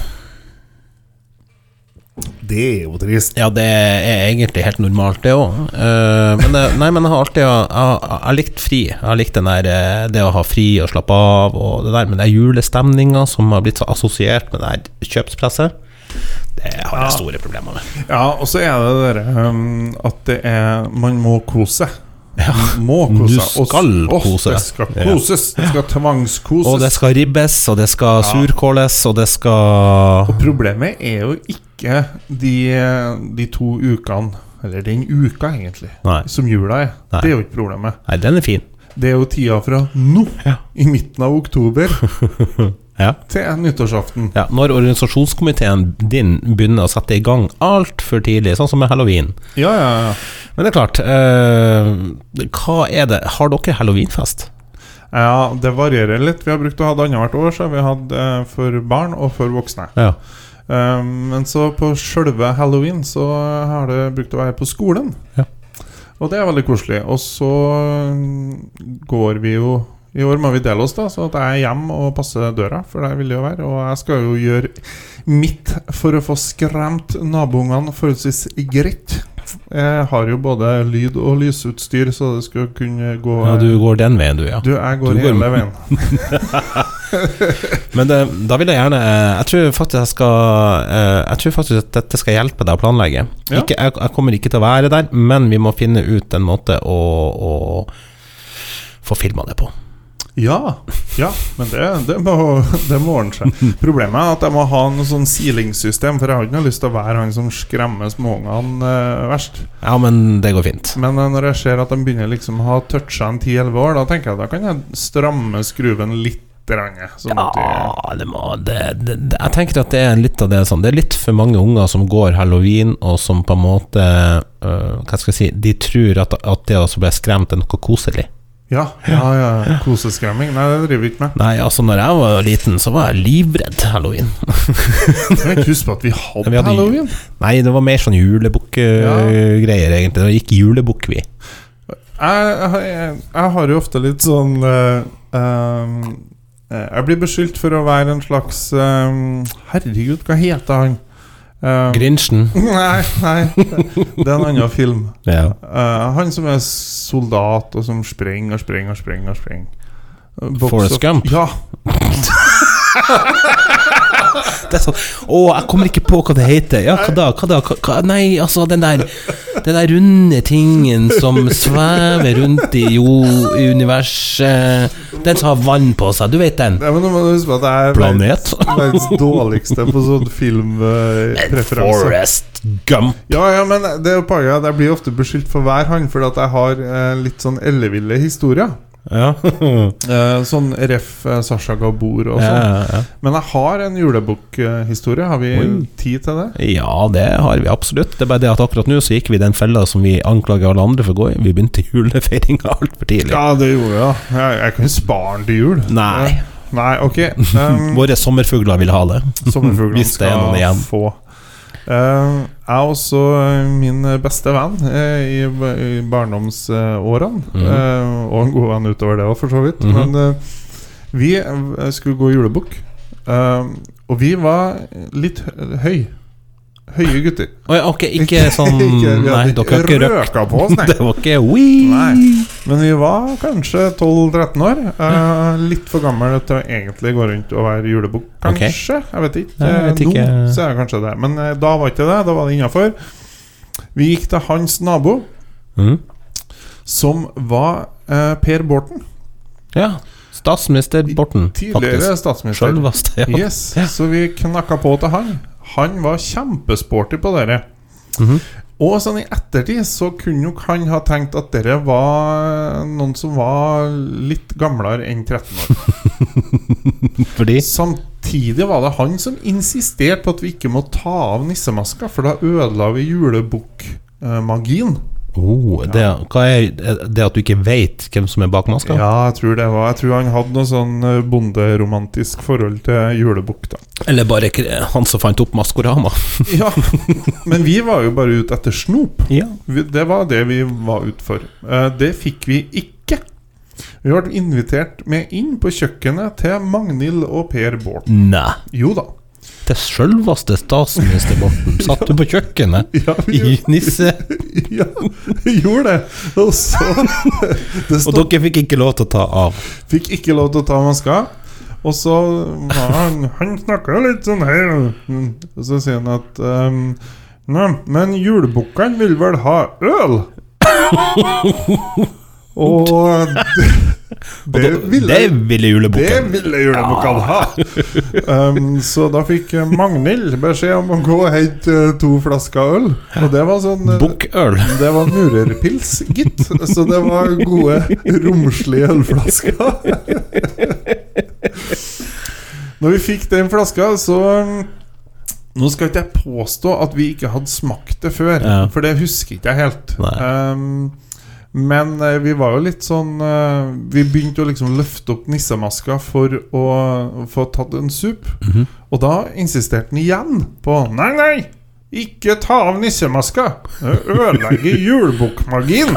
det er jo trist.
Ja, det er egentlig helt normalt, det òg. men, eh, nei, men jeg har alltid jeg, har- jeg har likt fri. Jeg har likt den der, eh, det å ha fri og slappe av og det der. Men den julestemninga som har blitt så assosiert med det her kjøpspresset, det har jeg store problemer med.
Ja, og så er det det derre um, at det er Man må kose seg. Må
du
kose seg. Og s-
skal
åh,
kose
Det
deg.
skal
Ja.
koses. Det skal tvangskoses.
Og det skal ribbes, og det skal surkåles, og det skal
Problemet er jo ikke de, de to ukene, eller den uka, egentlig,
Nei.
som jula er.
Nei.
Det er jo ikke problemet.
Nei, den er fin.
Det er jo tida fra nå,
Ja.
i midten av oktober,
Ja.
til nyttårsaften.
Ja, når organisasjonskomiteen din begynner å sette i gang altfor tidlig, sånn som med halloween.
Ja, ja, ja.
Men det er klart, eh, hva er det Har dere halloweenfest?
Ja, det varierer litt. Vi har brukt å ha det annethvert år, så har vi hatt eh, for barn og for voksne.
Ja.
Eh, men så på sjølve halloween så har det brukt å være på skolen.
Ja.
Og det er veldig koselig. Og så mm, går vi jo I år må vi dele oss, da, så at jeg er hjemme og passer døra, for det vil det jo være. Og jeg skal jo gjøre mitt for å få skremt naboungene forholdsvis greit. Jeg har jo både lyd- og lysutstyr, så det skal kunne gå
Ja, du går den veien, eh, du, ja.
Du, jeg går
Du går-
hele veien.
Men det, da vil jeg gjerne eh, Jeg tror faktisk jeg skal eh, Jeg tror faktisk at dette skal hjelpe deg å planlegge.
Ja.
Ikke, jeg, jeg kommer ikke til å være der, men vi må finne ut en måte å, å få filma det på.
Ja, ja men det, det, må, det må ordne seg. Problemet er at jeg må ha noe sånn silingssystem, for jeg har ikke noe lyst til å være han som skremmer småungene eh, verst.
Ja, men det går fint.
Men eh, når jeg ser at de begynner liksom å ha toucha en 10-11 år, da tenker jeg da kan jeg stramme skruven litt. Sånn at de-
Ja, Ah, det må det, det, det, Jeg tenker at det er litt av det sånn Det er litt for mange unger som går halloween, og som på en måte øh, Hva skal jeg si De tror at, at det å bli skremt er noe koselig.
ja, ja, ja. Koseskremming? Nei, det driver vi ikke med.
Nei, altså, når jeg var liten, så var jeg livredd halloween.
Jeg kan ikke huske på at vi
Ja,
hadde,
vi hadde-
halloween.
Nei, det var mer sånn julebukkgreier, egentlig. Det gikk julebukk, vi.
jeg, jeg, jeg har jo ofte litt sånn eh, ehm, eh, Jeg blir beskyldt for å være en slags ehm, Herregud, hva heter han? Ehm,
Grinchen.
nei, nei, det er en annen film.
Ja.
Eh, han som er soldat, og som sprenger og sprenger og sprenger. og sprenger. Eh, Box
Forrest
of-
Gump?
Ja.
Det er sånn Å, jeg kommer ikke på hva det heter. Ja, hva da? Hva da? Hva, hva? Nei, altså, den der Den der runde tingen som svever rundt i jo i universet. Den som har vann på seg. Du vet den?
Ja, men nå må du huske på at jeg er verdens-
Planet?
verdens dårligste på sånn eh, filmpreferanse.
Forest Gump.
Ja, ja, men det er jo poenget at jeg blir ofte beskyldt for hver han, fordi at jeg har eh, litt sånn elleville historier.
[laughs] Ja.
Eh, sånn ref eh, Sasha Gabor og
Ja,
sånn.
ja.
Men jeg har en julebukk-historie. Har vi
Oi.
tid til det?
ja, det har vi absolutt. Det er bare det at akkurat nå så gikk vi i den fella som vi anklager alle andre for å gå i. Vi begynte julefeiringa [laughs] altfor tidlig.
Ja, det gjorde jeg. Jeg, jeg kan spare den til jul.
Nei.
Eh, Nei, [laughs] ok. Um,
Våre sommerfugler vil ha det.
Sommerfuglene
Hvis det er noen
skal
igjen.
få. Eh, jeg og også eh, min beste venn eh, i, ba- i barndomsårene,
Mhm.
eh, og en god venn utover det òg, for så vidt.
Mhm.
Men eh, vi eh, skulle gå julebukk, eh, og vi var litt hø- høy. Høye gutter.
Å ja, ok, ikke sånn
[laughs] Ikke- vi
Nei,
hadde
dere har ikke røkt.
røka på
[laughs]
oss, nei.
Det var ikke Wii.
Nei. Men vi var kanskje 12-13 år. eh, litt for gammel til å egentlig gå rundt og være julebukk,
Ok.
kanskje. Jeg vet ikke.
Nei, jeg vet
Eh,
ikke.
Nå så er det kanskje det. Men eh, da var ikke det. Da var det innafor. Vi gikk til hans nabo,
Mm.
som var eh, Per Borten.
Ja. Statsminister Borten,
Tidligere statsminister.
Sjølveste, ja.
Yes, Så vi knakka på til han. Han var kjempesporty på dere.
Mhm.
Og sånn i ettertid så kunne nok han ha tenkt at dere var noen som var litt gamlere enn 13 år.
Fordi
Samtidig var det han som insisterte på at vi ikke må ta av nissemaska, for da ødela vi julebukkmagien.
oh, det, Hva er det at du ikke veit hvem som er bak maska?
Ja, jeg tror det var Jeg tror han hadde noe sånn eh, bonderomantisk forhold til julebukk, da.
Eller bare ikke han som fant opp Maskorama?
[laughs] Ja, men vi var jo bare ute etter snop.
Ja.
Vi- Det var det vi var ute for. Eh, Det fikk vi ikke. Vi ble invitert med inn på kjøkkenet til Magnhild og Per Bård.
Nei.
Jo da.
til selveste statsminister Morten. Satt du på kjøkkenet
[laughs] Ja, vi
i nisse,
ja, vi gjorde det! Og så [laughs] Det
og
stod,
dere fikk ikke lov til å ta av.
fikk ikke lov til å ta maska. Og så var han, han snakka litt sånn her mm, Og så sier han at ehm, Nei, men julebukkene vil vel ha øl? Og det, det ville
Det ville
Det
julebukken.
ville julebukkene ha! Um, så da fikk Magnhild beskjed om å gå og hente eh, to flasker øl. Og det var sånn eh,
Bukkøl.
[laughs] Det var murerpils, gitt. Så det var gode, romslige ølflasker. [laughs] Når vi fikk den flaska, så um, Nå skal ikke jeg påstå at vi ikke hadde smakt det før,
Ja.
for det husker ikke jeg helt.
Nei.
Um, men eh, vi var jo litt sånn eh, Vi begynte å liksom løfte opp nissemaska for å få tatt en sup.
Mm.
Og da insisterte han igjen på Nei, nei! Ikke ta av nissemaska! Det ødelegger
[laughs]
julebukkmagien!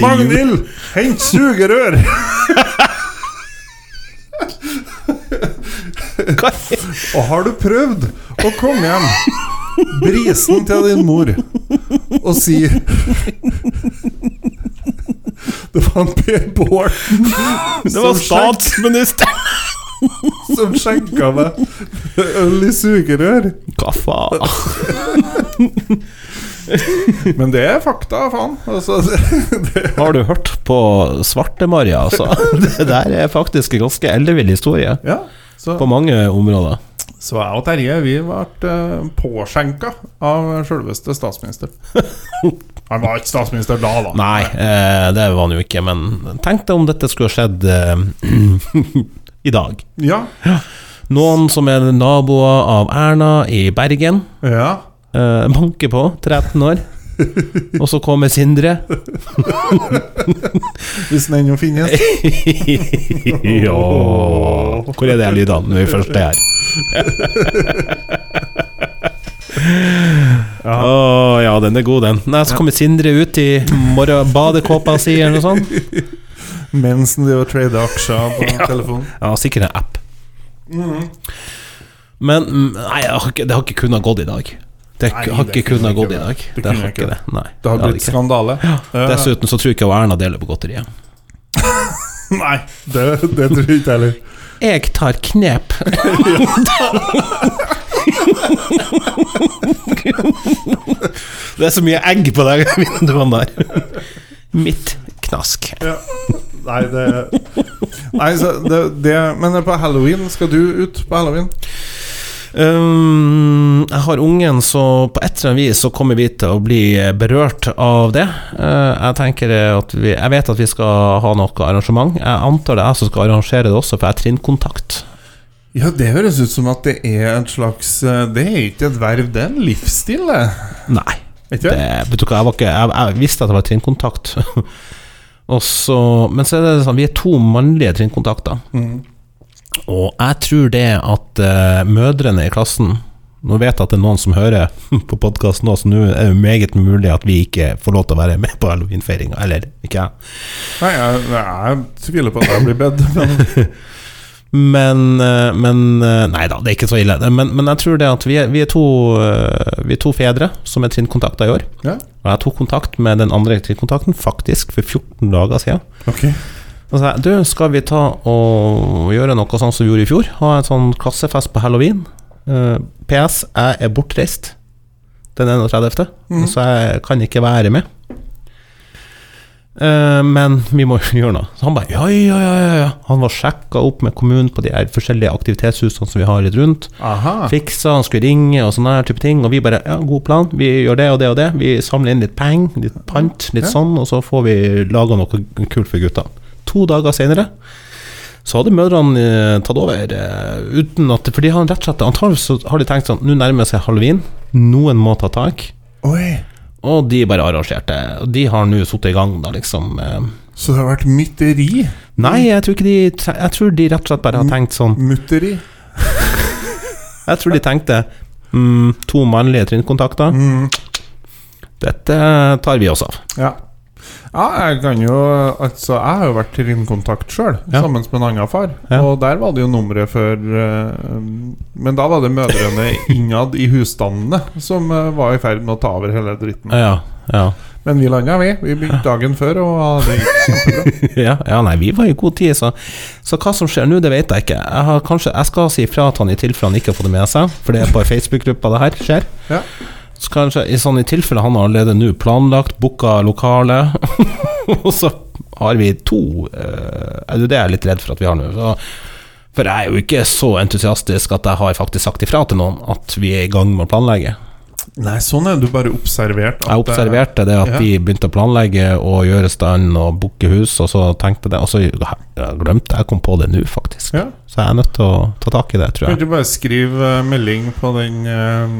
Magnhild, hent sugerør! Og har du prøvd å komme hjem brisen til din mor og si [laughs] Det var en Per Borten
Det var statsminister!
som skjenka meg øl i sugerør.
Hva faen?
Men det er fakta, faen. Altså, [laughs] det,
Har du hørt på Svarte-Maria, altså? [laughs] Det der er faktisk en ganske ellevill historie.
ja. Så,
På mange områder.
så jeg og Terje vi ble eh, påskjenka av sjølveste statsminister.
[laughs]
Han var ikke statsminister da, da.
Nei, eh, det var han jo ikke, men tenk deg om dette skulle ha skjedd eh, [clears throat] i dag.
Ja.
Noen som er naboer av Erna i Bergen,
ja.
eh, banker på, 13 år. Og så kommer Sindre.
Hvis den ennå finnes.
[laughs] ja. Hvor er det jeg lyder når vi først er her? Å ja, den er god, den. Nei, Så kommer Sindre ut i morgen- badekåpa si, eller noe sånt.
Mens han driver og trader aksjer på telefonen.
Ja, sikkert en app. Men mm, nei, jeg har ikke, det har ikke kunnet gått i dag. Det
Nei,
har
det
ikke
kunne
kunnet
ikke
gått i
det.
dag.
Det
Det
kunne
har
ikke
ikke det. Nei.
Det
det
har
har
blitt
ikke.
skandale. Eh,
Dessuten så tror jeg ikke Erna deler på godteriet.
Nei, det, det tror jeg ikke jeg heller.
Jeg tar knep. det er så mye egg på de vinduene der. Mitt knask.
Nei, det, nei så det, det Men på halloween, skal du ut på halloween?
Um, jeg har ungen, så på et eller annet vis så kommer vi til å bli berørt av det. Eh, jeg tenker at vi Jeg vet at vi skal ha noe arrangement. Jeg antar det er jeg som skal arrangere det også, for jeg har trinnkontakt.
Ja, det høres ut som at det er et slags eh, Det er ikke et verv, det er en livsstil, det.
Nei.
Er
Det,
ikke det?
vet du hva, jeg, var ikke, jeg, jeg visste at det var trinnkontakt. [laughs] Og så, men så er det sånn, vi er to mannlige trinnkontakter. Og jeg tror det at eh, mødrene i klassen Nå vet jeg at det er noen som hører [laughs] på podkasten nå, så nå er det meget mulig at vi ikke får lov til å være med på halloweenfeiringa. Eller ikke jeg.
Nei, jeg, jeg tviler på at jeg blir bedt, [laughs] men
Men, eh, men eh, Nei da, det er ikke så ille. Men, men jeg tror det at vi er, vi er, to, eh, vi er to fedre som er trinnkontakter i år.
ja.
Og jeg tok kontakt med den andre trinnkontakten faktisk for 14 dager siden.
Ok.
Da sa jeg, du, skal vi ta og gjøre noe sånn som vi gjorde i fjor? Ha en sånn klassefest på halloween? Eh, PS, jeg er bortreist den 31., så jeg kan ikke være med. Eh, men vi må jo [laughs] gjøre noe. Så han bare ja, ja, ja, ja, ja. Han var sjekka opp med kommunen på de her forskjellige aktivitetshusene som vi har litt rundt.
Aha.
Fiksa, han skulle ringe og sånne her type ting. Og vi bare ja, god plan, vi gjør det og det og det. Vi samler inn litt penger, litt pant, litt sånn, og så får vi laga noe kult for gutta. To dager seinere så hadde mødrene eh, tatt over eh, uten at For de har rett og slett antakelig så har de tenkt sånn Nå nærmer seg halloween, noen må ta tak.
Oi.
Og de bare arrangerte. Og de har nå sittet i gang, da, liksom. eh.
Så det har vært mytteri?
Nei, jeg tror ikke de tre- Jeg tror de rett og slett bare har tenkt sånn
Mutteri?
Jeg tror de tenkte mm, To mannlige trinnkontakter. Dette tar vi oss av.
Ja. Ja, jeg kan jo Altså, jeg har jo vært i ringkontakt sjøl,
Ja.
sammen med en annen far.
Ja.
Og der var det jo nummeret for eh, Men da var det mødrene innad i husstandene som eh, var i ferd med å ta over hele dritten.
Ja, ja. [laughs]
Men vi landa, vi. Vi begynte dagen før, og det [laughs] gikk kjempebra.
ja, ja, nei, vi var i god tid, så, så hva som skjer nå, det vet jeg ikke. Jeg, har kanskje, jeg skal si ifra til han i tilfelle han ikke har fått det med seg, for det er på ei Facebook-gruppe det her skjer.
Ja.
Så kanskje i sånn i tilfelle han har allerede nå planlagt, booka lokale, [laughs] og så har vi to eh, er Det det jeg er litt redd for at vi har nå. Så, for jeg er jo ikke så entusiastisk at jeg har faktisk sagt ifra til noen at vi er i gang med å planlegge.
Nei, sånn er du bare observert. at
Jeg
det-
observerte det at
Ja.
de begynte å planlegge og gjøre stand og booke hus, og så tenkte jeg det, og så jeg glemte jeg kom på det nå, faktisk.
Ja.
Så jeg er nødt til å ta tak i det, tror
Kan
jeg.
du bare skrive eh, melding på den eh,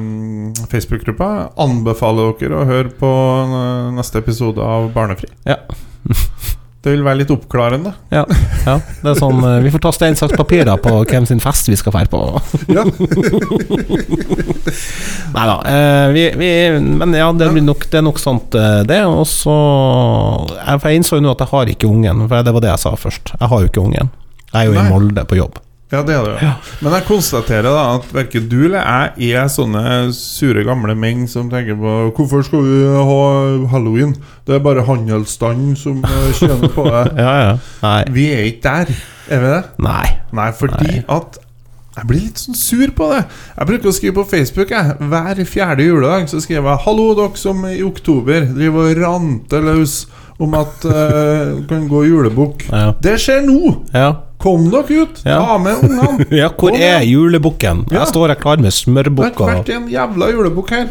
Facebook-gruppa? Anbefaler dere å høre på eh, neste episode av Barnefri.
Ja.
[laughs] Det vil være litt oppklarende.
Ja, ja, det er sånn eh, Vi får ta stein, saks, papir da, på hvem sin fest vi skal dra på. [laughs]
Ja.
Nei da. Eh, vi, vi, men ja, det, blir nok, det er nok sant, eh, det. Og så jeg, For jeg innså jo nå at jeg har ikke ungen, for det var det jeg sa først. Jeg har jo ikke ungen. Jeg er jo
Nei.
i Molde på jobb.
Ja, det er det jo.
Ja.
Men jeg konstaterer da at verken du eller jeg er sånne sure gamle menn som tenker på Hvorfor skal vi ha halloween? Det er bare handelsstanden som eh, tjener på [laughs] det.
Ja, ja. Nei.
Vi er ikke der, er vi det?
Nei.
Nei, fordi at jeg blir litt sånn sur på det. Jeg bruker å skrive på Facebook jeg. hver fjerde juledag. Så skriver jeg 'Hallo, dere som i oktober driver og ranter løs om at eh, kan gå julebukk'.
Ja.
Det skjer nå!
ja.
Kom dere ut!
Ja.
Ta med ungene!
[laughs] Ja, hvor
Kom
er
igjen.
julebukken?
Ja.
Jeg står her klar med
Det har
smørbukka.
ikke vært en jævla julebukk her.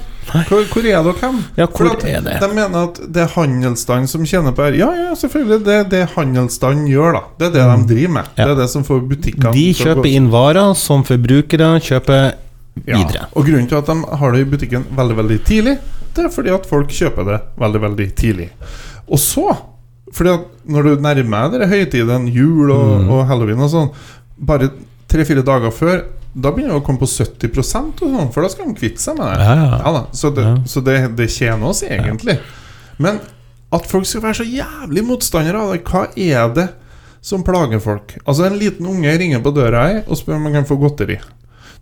Hvor, hvor er dere hen?
Ja, hvor
For at
er det?
De mener at det er handelsstand som tjener på her. Ja, ja, selvfølgelig. Det er det handelsstand gjør, da. Det er det de driver
Mm.
med.
Ja.
Det er det som får butikkene
De
til å gå-
kjøper inn varer som forbrukere kjøper
Ja,
videre.
Og grunnen til at de har det i butikken veldig, veldig tidlig, det er fordi at folk kjøper det veldig, veldig tidlig. Og så, fordi at når du nærmer deg dere høytiden, jul og,
Mm.
og halloween og sånn, bare tre-fire dager før, da begynner det å komme på 70 og sånn, for da skal de kvitte seg med det.
Ja, ja.
da, så det,
Ja.
så det, det tjener oss egentlig. Men at folk skal være så jævlig motstandere av det, hva er det som plager folk? Altså, en liten unge ringer på døra her og spør om han kan få godteri.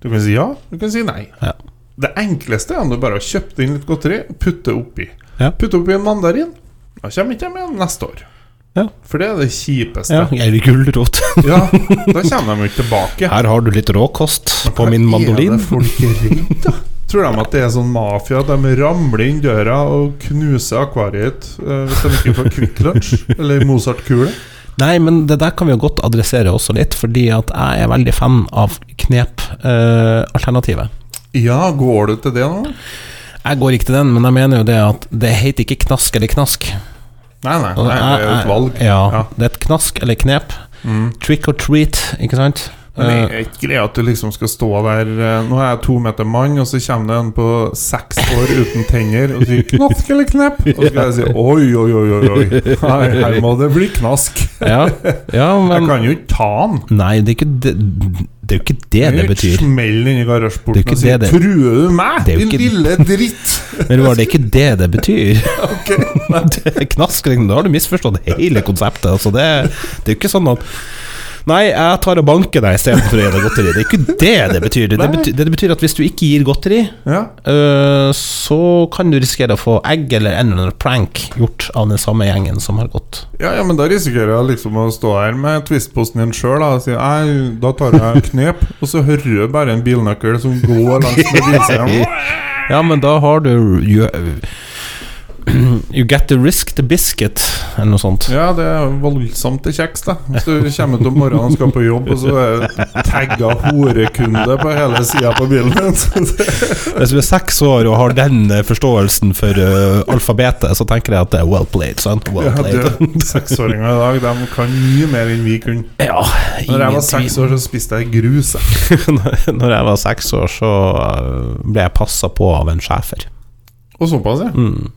Du kan si ja, du kan si nei.
Ja.
Det enkleste er om du bare har kjøpt inn litt godteri, putte oppi.
Ja.
Putte oppi en mandarin. Da kommer ikke de igjen neste år.
Ja.
For det er det
Ja,
kjipeste.
Eller gulrot. [laughs]
Ja, Da kommer de jo ikke tilbake.
Her har du litt råkost på min
Er
mandolin.
det folk er redd, da? Tror de at det er sånn mafia at de ramler inn døra og knuser akvariet eh, hvis de ikke får Kvikk Lunsj eller Mozart-kule?
Nei, men det der kan vi jo godt adressere også litt, fordi at jeg er veldig fan av knep-alternativet.
Ja, går du til det nå?
jeg går ikke til den, men jeg mener jo det at det heter ikke knask eller knask.
Nei, nei,
Og
nei det er jo et valg.
Ja,
Ja. Mm.
det er et knask eller knep. Trick or treat, ikke sant?
Men
Eh,
det er ikke greia at du liksom skal stå der eh, Nå er jeg to meter mann, og så kommer det en på seks år uten tenner og sier 'knask eller knepp'? Og så skal jeg si 'oi, oi, oi, oi, oi'. Her, her må det bli knask.
ja, ja,
[laughs] Jeg
men
kan jo ikke ta den.
Nei, det er ikke det Det er jo ikke det det betyr.
Smell inn i
Det er
garasjeporten
jo
og
ikke
si
det det-
'truer du meg,
Det er jo
din
ikke-
lille dritt'?
Men Roar, det er ikke det det betyr. [laughs] Det er Knaskring, da har du misforstått hele konseptet. Altså det, det er jo ikke sånn at Nei, jeg tar og banker deg istedenfor å gi deg godteri. Det er ikke det det betyr. Det
Nei.
betyr, det betyr at hvis du ikke gir godteri,
Ja.
øh, så kan du risikere å få egg eller en eller annen prank gjort av den samme gjengen som har gått.
Ja, ja, men da risikerer jeg liksom å stå her med twistposten din sjøl og si «Nei, da tar jeg en knep, og så hører jeg bare en bilnøkkel som går langs med
[laughs]
bilseieren.
Ja, men da har du you, øh, [clears throat] you get the risk the biscuit, eller noe sånt.
Ja, det er voldsomt til kjeks, da. Hvis du kommer ut om morgenen og skal på jobb, og så er det tagga horekunde på hele sida på bilen din.
Hvis du er seks år og har den eh, forståelsen for eh, alfabetet, så tenker jeg at det er well played, sant? Well
Ja,
played.
du, Seksåringer i dag de kan mye mer enn vi kunne.
[laughs] Ja,
Når jeg var
ingen
seks
tvil.
år, så spiste jeg grus. jeg.
[laughs] Når jeg var seks år, så eh, ble jeg passa på av en schæfer.
Og såpass, ja.
Mm.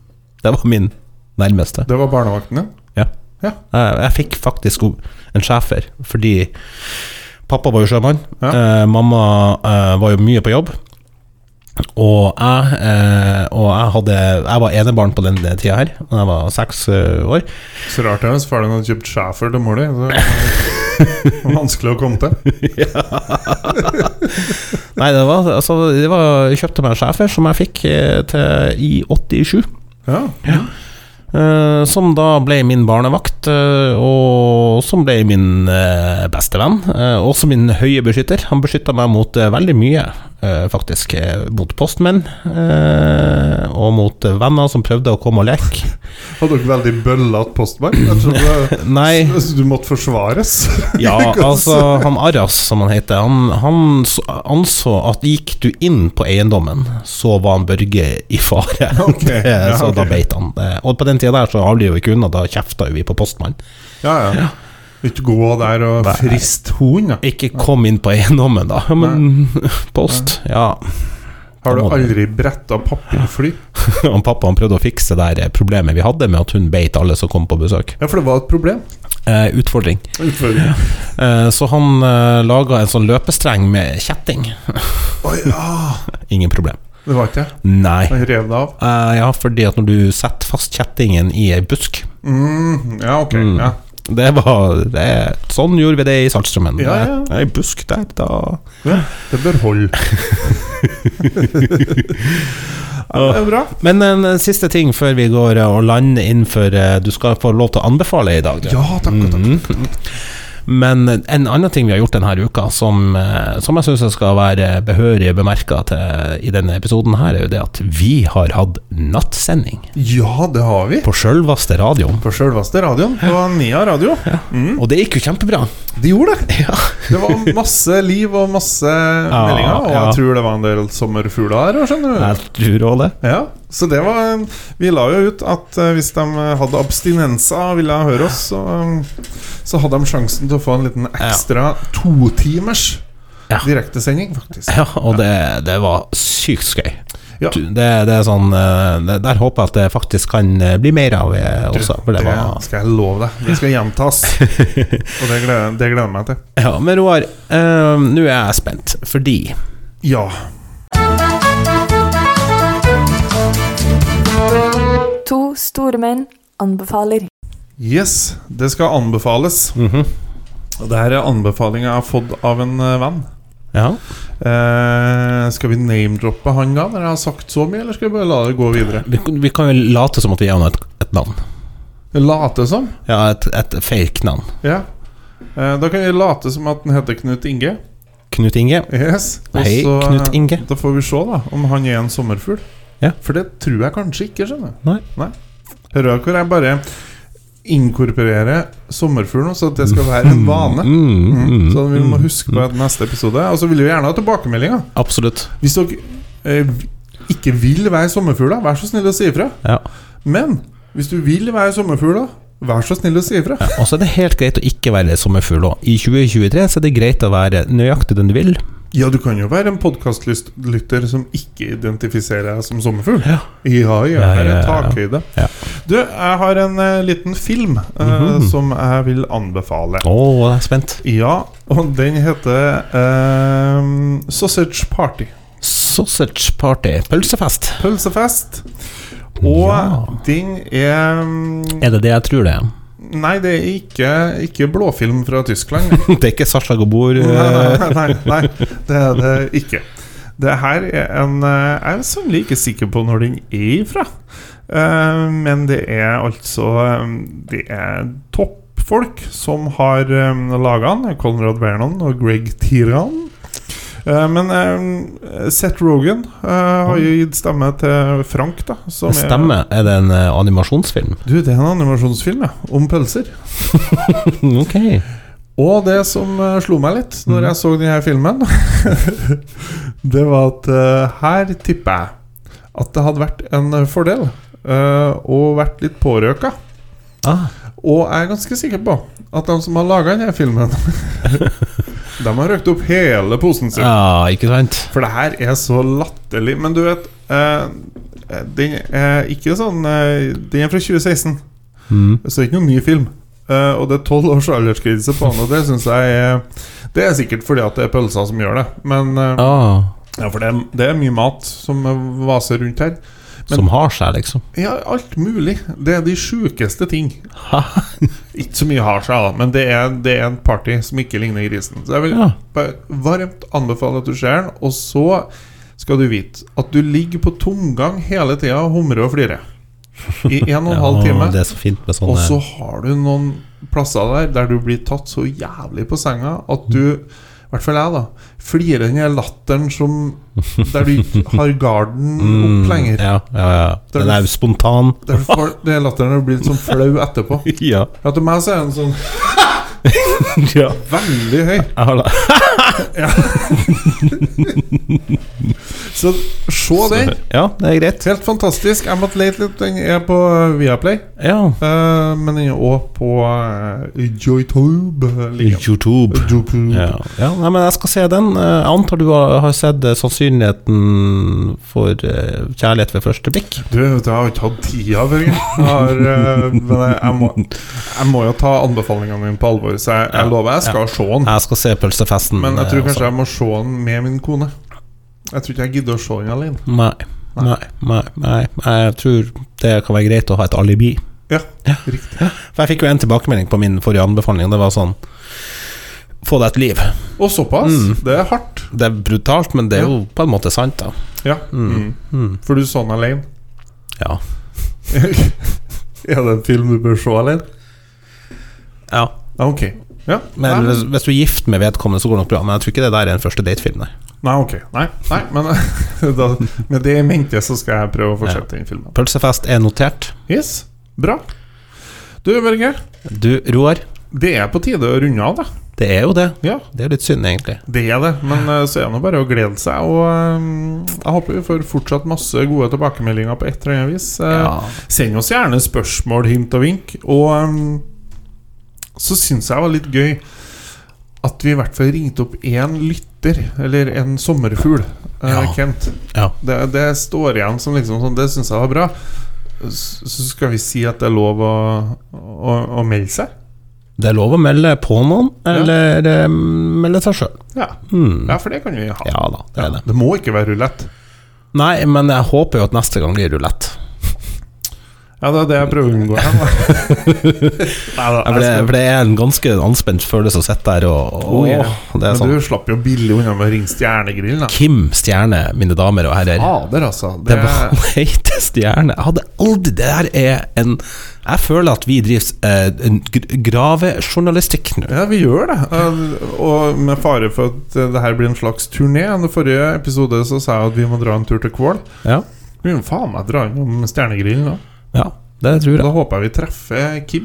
Det var min nærmeste.
Det var barnevakten din.
Jeg, jeg fikk faktisk o- en schæfer fordi pappa var jo sjømann.
Ja.
Eh, mamma eh, var jo mye på jobb. Og jeg, eh, og jeg, hadde, jeg var enebarn på den tida her, da jeg var seks eh, år.
Så rart det, hvis faren hadde kjøpt schæfer til mor di. så [laughs] det var Vanskelig å komme til.
Nei, det var, altså, det var, jeg kjøpte meg schæfer som jeg fikk eh, til i 87.
Ja,
eh, som da ble min barnevakt, eh, og som ble min eh, beste venn. eh, også min høye beskytter. Han beskytta meg mot eh, veldig mye, eh, faktisk. eh, Mot postmenn, eh, og mot eh, venner som prøvde å komme og leke.
Hadde dere veldig bøllete postmann? Jeg trodde
Nei.
Så du måtte forsvares. [laughs]
Ja, altså, han Arras, som han heter, han, han s- anså at gikk du inn på eiendommen, så var han Børge i fare.
[laughs]
[laughs]
Ok,
Det-
ja,
så da
ok.
beit han. Eh, Og på den tida der så avlivet vi jo ikke unna, da kjefta jo vi på postmannen.
Ja, ja. Ikke gå der og
Nei.
frist hund, da.
Ikke kom inn på eiendommen, da. Men [laughs] post, ja.
Har du
Da må du-
aldri bretta papirfly?
Han pappa han prøvde å fikse det der problemet vi hadde med at hun beit alle som kom på besøk.
Ja, for det var et problem.
Eh, utfordring.
Utfordring.
Eh, så han eh, laga en sånn løpestreng med kjetting.
Å ja!
[laughs] Ingen problem.
Det var ikke det.
Nei.
Han rev det av.
Eh, ja, fordi at når du setter fast kjettingen i ei busk
Mm, ja, ok.
Mm.
Ja.
Det var det, Sånn gjorde vi det i Saltstraumen.
Ja, ja.
Eh, Ei busk der, da
Ja, det bør
[laughs]
holde. ja, det er bra.
Men eh, en siste ting før vi går eh, og lander innenfor eh, Du skal få lov til å anbefale i dag, du.
Ja, takk og
Mm.
takk.
Men eh, en annen ting vi har gjort denne uka, som, eh, som jeg syns skal være behørig bemerka i denne episoden, her, er jo det at vi har hatt nattsending
Ja, det har vi.
på sjølvaste radioen.
På sjølveste radioen. På Nia radio. Mm.
Og det gikk jo kjempebra.
De gjorde det!
Ja.
Det var masse liv og masse meldinger. Og
ja.
jeg tror det var en del sommerfugler her òg, skjønner du.
[laughs] Jeg tror òg det.
Ja, så det var eh, Vi la jo ut at eh, hvis de hadde abstinenser og ville høre oss, så, eh, så hadde de sjansen til å få en liten ekstra totimers
Ja.
direktesending, faktisk.
Ja, og det, det var sykt skøy.
Ja.
Du, Det, det er sånn eh, det, Der håper jeg at det faktisk kan eh, bli mer av eh, også. For det
Det
var,
skal jeg love deg. Det skal gjentas. Og det gleder, det gleder jeg meg til.
ja, men Roar, eh, nå er jeg spent, fordi
Ja.
To store menn anbefaler.
Yes, det skal anbefales. Og det her er anbefalinga jeg har fått av en eh, venn.
Ja,
Eh, skal vi name-droppe han da, når jeg har sagt så mye, eller skal vi bare la det gå videre?
vi, kan- vi kan jo late som at vi er et, et navn.
Late som.
Ja, et, et fake navn.
Ja. Eh, Da kan vi late som at han heter Knut Inge.
Knut Inge.
Yes. Og
Hei,
så, eh,
Knut Inge.
Da får vi se da om han er en sommerfugl.
Ja.
For det tror jeg kanskje ikke. skjønner du.
Nei.
Hører dere hvor jeg bare inkorporerer sommerfuglen, så at det skal være en vane?
Mm,
Mm.
mm,
Så vi må
mm,
huske på at neste episode. Og så vil vi gjerne ha tilbakemeldinger.
Absolutt.
Hvis dere eh, ikke vil være sommerfugler, vær så snill å si ifra.
Ja.
Men hvis du vil være sommerfugler, vær så snill å si ifra.
Og så er det helt greit å ikke være sommerfugl òg. I 2023 så er det greit å være nøyaktig den du vil.
Ja, du kan jo være en podkastlytter som ikke identifiserer deg som sommerfugl.
Ja.
ja, ja,
Ja,
her
ja,
er
ja.
takhøyde.
Ja.
Du, jeg har en eh, liten film eh,
Mhm.
som jeg vil anbefale.
Å, jeg er spent.
Ja, og den heter eh, Sausage Party.
Sausage party. Pølsefest.
Pølsefest. Og
Ja.
den er mm,
Er det det jeg tror det er? [laughs]
Nei, det er ikke, ikke blåfilm fra Tyskland.
Det er ikke Sasha
[laughs]
Gabor Eh.
nei, nei, nei, nei, det er det ikke. Det her er en eh, Jeg er sannelig ikke sikker på når den er ifra. Eh, Men det er altså eh, Det er toppfolk som har laga den. Conrad Vernon og Greg Tiran. Eh, Men eh, Seth Rogan eh, har jo gitt stemme til Frank, da. som er-
Stemme, er det en eh, animasjonsfilm?
Du, det er en animasjonsfilm, ja. Om pølser. Mm,
Ok
Og det som eh, slo meg litt når jeg så denne filmen, [laughs] det var at eh, her tipper jeg at det hadde vært en fordel eh, å vært litt pårøka.
ah,
Og jeg er ganske sikker på at de som har laga denne filmen, [laughs] de har røkt opp hele posen sin.
ja, ikke sant?
For det her er så latterlig. Men du vet, eh, den er ikke sånn eh, Den er fra 2016.
Mm.
Så det er ikke noen ny film. Eh, og det er tolv års aldersgrense på den, og det syns jeg er Det er sikkert fordi at det er pølser som gjør det, men eh,
Ah,
Ja, for det er, det er mye mat som vaser rundt her. Men-
Som har seg, liksom.
Ja, alt mulig. Det er de sjukeste ting.
Ha.
[laughs] Ikke så mye har seg, da, men det er, det er en party som ikke ligner grisen. Så jeg vil
Ja.
bare varmt anbefale at du ser den, og så skal du vite at du ligger på tomgang hele tida og humrer og flirer. I en og
[laughs]
en halv time.
det er så fint med
Og
sånne
så har du noen plasser der der du blir tatt så jævlig på senga at du, i hvert fall jeg, da, flirer den der latteren som Der du ikke har garden
Mm.
opp lenger.
Ja, ja, ja.
Der
Den
du-
er jo spontan.
Der du får den latteren og blir litt sånn flau etterpå.
ja.
[laughs] Ja, til meg så er den sånn
[laughs] ja.
veldig høy.
Jeg har det.
Så se den.
Ja, det er greit.
Helt fantastisk. Jeg måtte lete litt. Den er på Viaplay.
Ja.
eh, men den er òg på uh, Joytube. Like.
YouTube.
Joytube.
Ja, ja nei, men jeg skal se den. Eh, Jeg antar du har har sett eh, sannsynligheten for eh, kjærlighet ved første blikk?
Du, vet du, jeg har ikke hatt tida før. jeg. Jeg har, eh, men jeg, jeg, må, jeg må jo ta anbefalingene dine på alvor, så jeg, jeg lover jeg skal se den.
Jeg skal se Pølsefesten.
Men jeg tror
eh,
kanskje jeg må se den med min kone. Jeg tror ikke jeg gidder å se den alene.
også. Nei. Nei, nei, nei, jeg tror det kan være greit å ha et alibi.
Ja,
Ja.
riktig
For jeg fikk jo en tilbakemelding på min forrige anbefaling, og det var sånn Få deg et liv.
Og såpass? Det er hardt.
Det er brutalt, men det er jo på en måte sant, da.
Ja. Mm. For du så den [laughs] alene?
Ja.
er det en film du bør se alene?
ja.
Ja, Ah, ok. Ja.
Men
nei,
hvis, hvis du er gift med vedkommende, så går det nok bra. Men jeg tror ikke det der er en første datefilm, nei.
nei, ok. Nei, nei men [laughs] da, med det i mente så skal jeg prøve å fortsette den filmen.
Pølsefest er notert.
Yes, bra. Du, Børge.
Du, Roar,
Det er på tide å runde av, da.
det er jo det.
Ja,
Det er jo litt synd, egentlig.
det er det. Men eh, så er det nå bare å glede seg. Og eh, jeg håper vi får fortsatt masse gode tilbakemeldinger på et eller annet vis. Eh, Send oss gjerne spørsmål, hint og vink. Og ehm, så syns jeg det var litt gøy at vi i hvert fall ringte opp én lytter, eller en sommerfugl, eh,
Ja.
Kent.
Ja.
Det, det står igjen som liksom sånn Det syns jeg var bra. S- Så skal vi si at det er lov å, å, å melde seg.
Det er lov å melde på noen, eller eh, melde seg sjøl.
Ja. ja, for det kan vi ha.
Ja da, det er det.
Det må ikke være rulett.
Nei, men jeg håper jo at neste gang blir rulett.
Ja, det er det jeg prøver å [laughs] unngå her. da. Neida,
For det, for det er en ganske anspent følelse å sitte der og, og
Oh, ja.
Det er
Men
sånn
du slapp jo billig unna med å ringe Stjernegrillen, da.
Kim Stjerne, mine damer og herrer.
Fader, altså.
Det var [laughs] den heite stjerne. Jeg hadde aldri Det der er en Jeg føler at vi driver eh, en gr- gravejournalistikk nå.
Ja, vi gjør det. Eh, Og med fare for at eh, det her blir en slags turné. I den forrige episode så sa jeg at vi må dra en tur til Kvål.
Ja.
Vi må faen meg dra innom Stjernegrillen nå.
ja, det tror jeg.
Da håper jeg vi treffer Kim.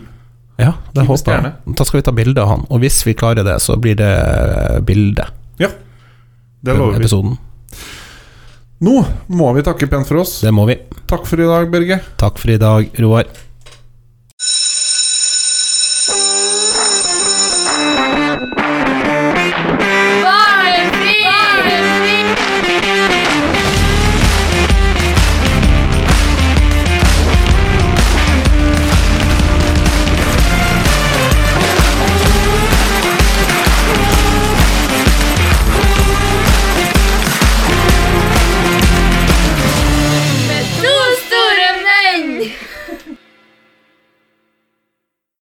Ja, det
Kim
håper jeg. Da skal vi ta bilde av han. Og hvis vi klarer det, så blir det bilde.
Ja, det
på
lover vi.
Episoden.
Nå må vi takke pent for oss.
Det må vi.
Takk for i dag, Børge.
Takk for i dag, Roar.